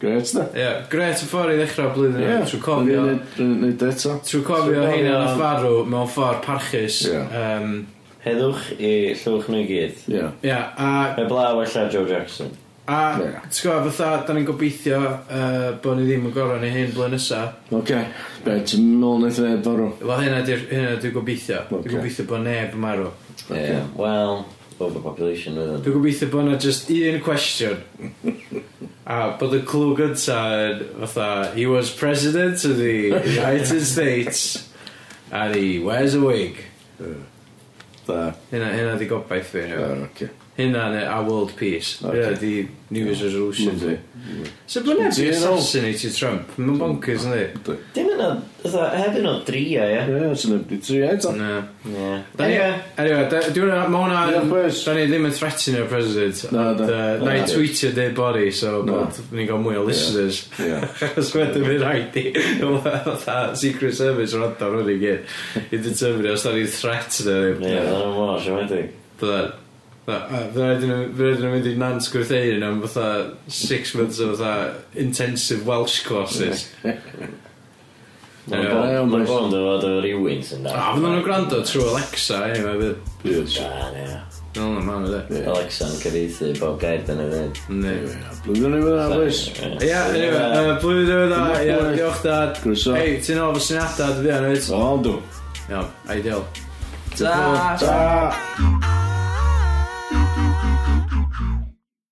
S3: Gret da.
S1: Ie, gret y ffordd i ddechrau blwyddyn.
S3: Ie.
S1: yma, Trwy cofio...
S3: Nid eto.
S1: Trwy cofio
S2: Trwy
S1: hyn yn
S2: cofio-
S1: y ffarw mewn ffordd parchus. Ie.
S3: Ie.
S1: Um,
S2: Heddwch i llwch nhw i gyd.
S3: Ia.
S1: ie, a,
S2: Mae blaw alla Joe Jackson.
S1: a
S3: Ie.
S1: ti'n gwybod, fatha, da ni'n gobeithio uh, bod ni ddim yn gorau ni hyn blwyddyn nesa.
S3: Oce. Be, ti'n mynd eithaf neb farw.
S1: Wel, hynna di'r- hynna dwi'n gobeithio.
S3: Ocê.
S1: Dwi'n gobeithio bod neb yn marw.
S2: Ie. Wel, overpopulation oedd hwn.
S1: Dwi'n gobeithio bod yna just un cwestiwn. a bod y clw gynta yn, fatha, he was president of the United States and he wears a wig.
S3: Da.
S1: Hynna, hynna di gobaith fi.
S3: Ia,
S1: Yeah.
S3: oce.
S1: Hynna neu a world peace.
S3: Ocê.
S1: Hynna di New Year's resolution. fi.
S3: Lyfli.
S1: So bod neb i
S3: Ti'n meddwl?
S1: assassinated Trump, mae'n bonkers yn di.
S3: Ynddi.
S2: Dim yna, ytho, heb yna dria, ie.
S3: Ie, sy'n neb di tri eto.
S1: Na.
S2: Ie.
S1: Da ni,
S2: Ie.
S1: anyway, da- dwi'n meddwl, mae
S3: Ie,
S1: hwnna,
S3: boys.
S1: da ni ddim yn threatening o'r president.
S3: Na,
S1: Ond,
S3: na.
S1: uh, Na i
S3: Na.
S1: tweetio dead body, so
S3: Na.
S1: bod ni'n gael mwy o listeners. (laughs)
S3: Ia.
S1: Os wedyn fi'n rhaid i, fatha Secret Service rand o'r hynny gyd, i determine os da ni'n threat na
S2: Ie,
S1: ddim.
S2: oedd hwnna'n mor, siomedig.
S1: Bydda, bydda nhw'n mynd i nant gwrtheuyn am fatha six months o fatha intensive Welsh courses. Ie.
S2: Mae'n bond o fod o rywun sy'n da.
S1: A fydden nhw'n gwrando trwy Alexa, anyway, bydd.
S3: Yes.
S2: Da, Ah, ie.
S1: Dyna nhw'n man o de.
S3: Ie.
S2: Alexa'n cyfeithi bob gair dyn nhw ddyn.
S1: Ne.
S3: Blwyddyn ni fyna, boys.
S1: Ia,
S2: É.
S1: anyway, yy, blwyddyn diwedd dda, ia,
S3: Diolch,
S1: diolch dad.
S3: Croeso.
S1: Hei, ti'n ôl fy syniadau, dwi yn oed.
S3: O, dw.
S1: Iawn, ideal.
S2: Ta!
S3: Ta!
S4: I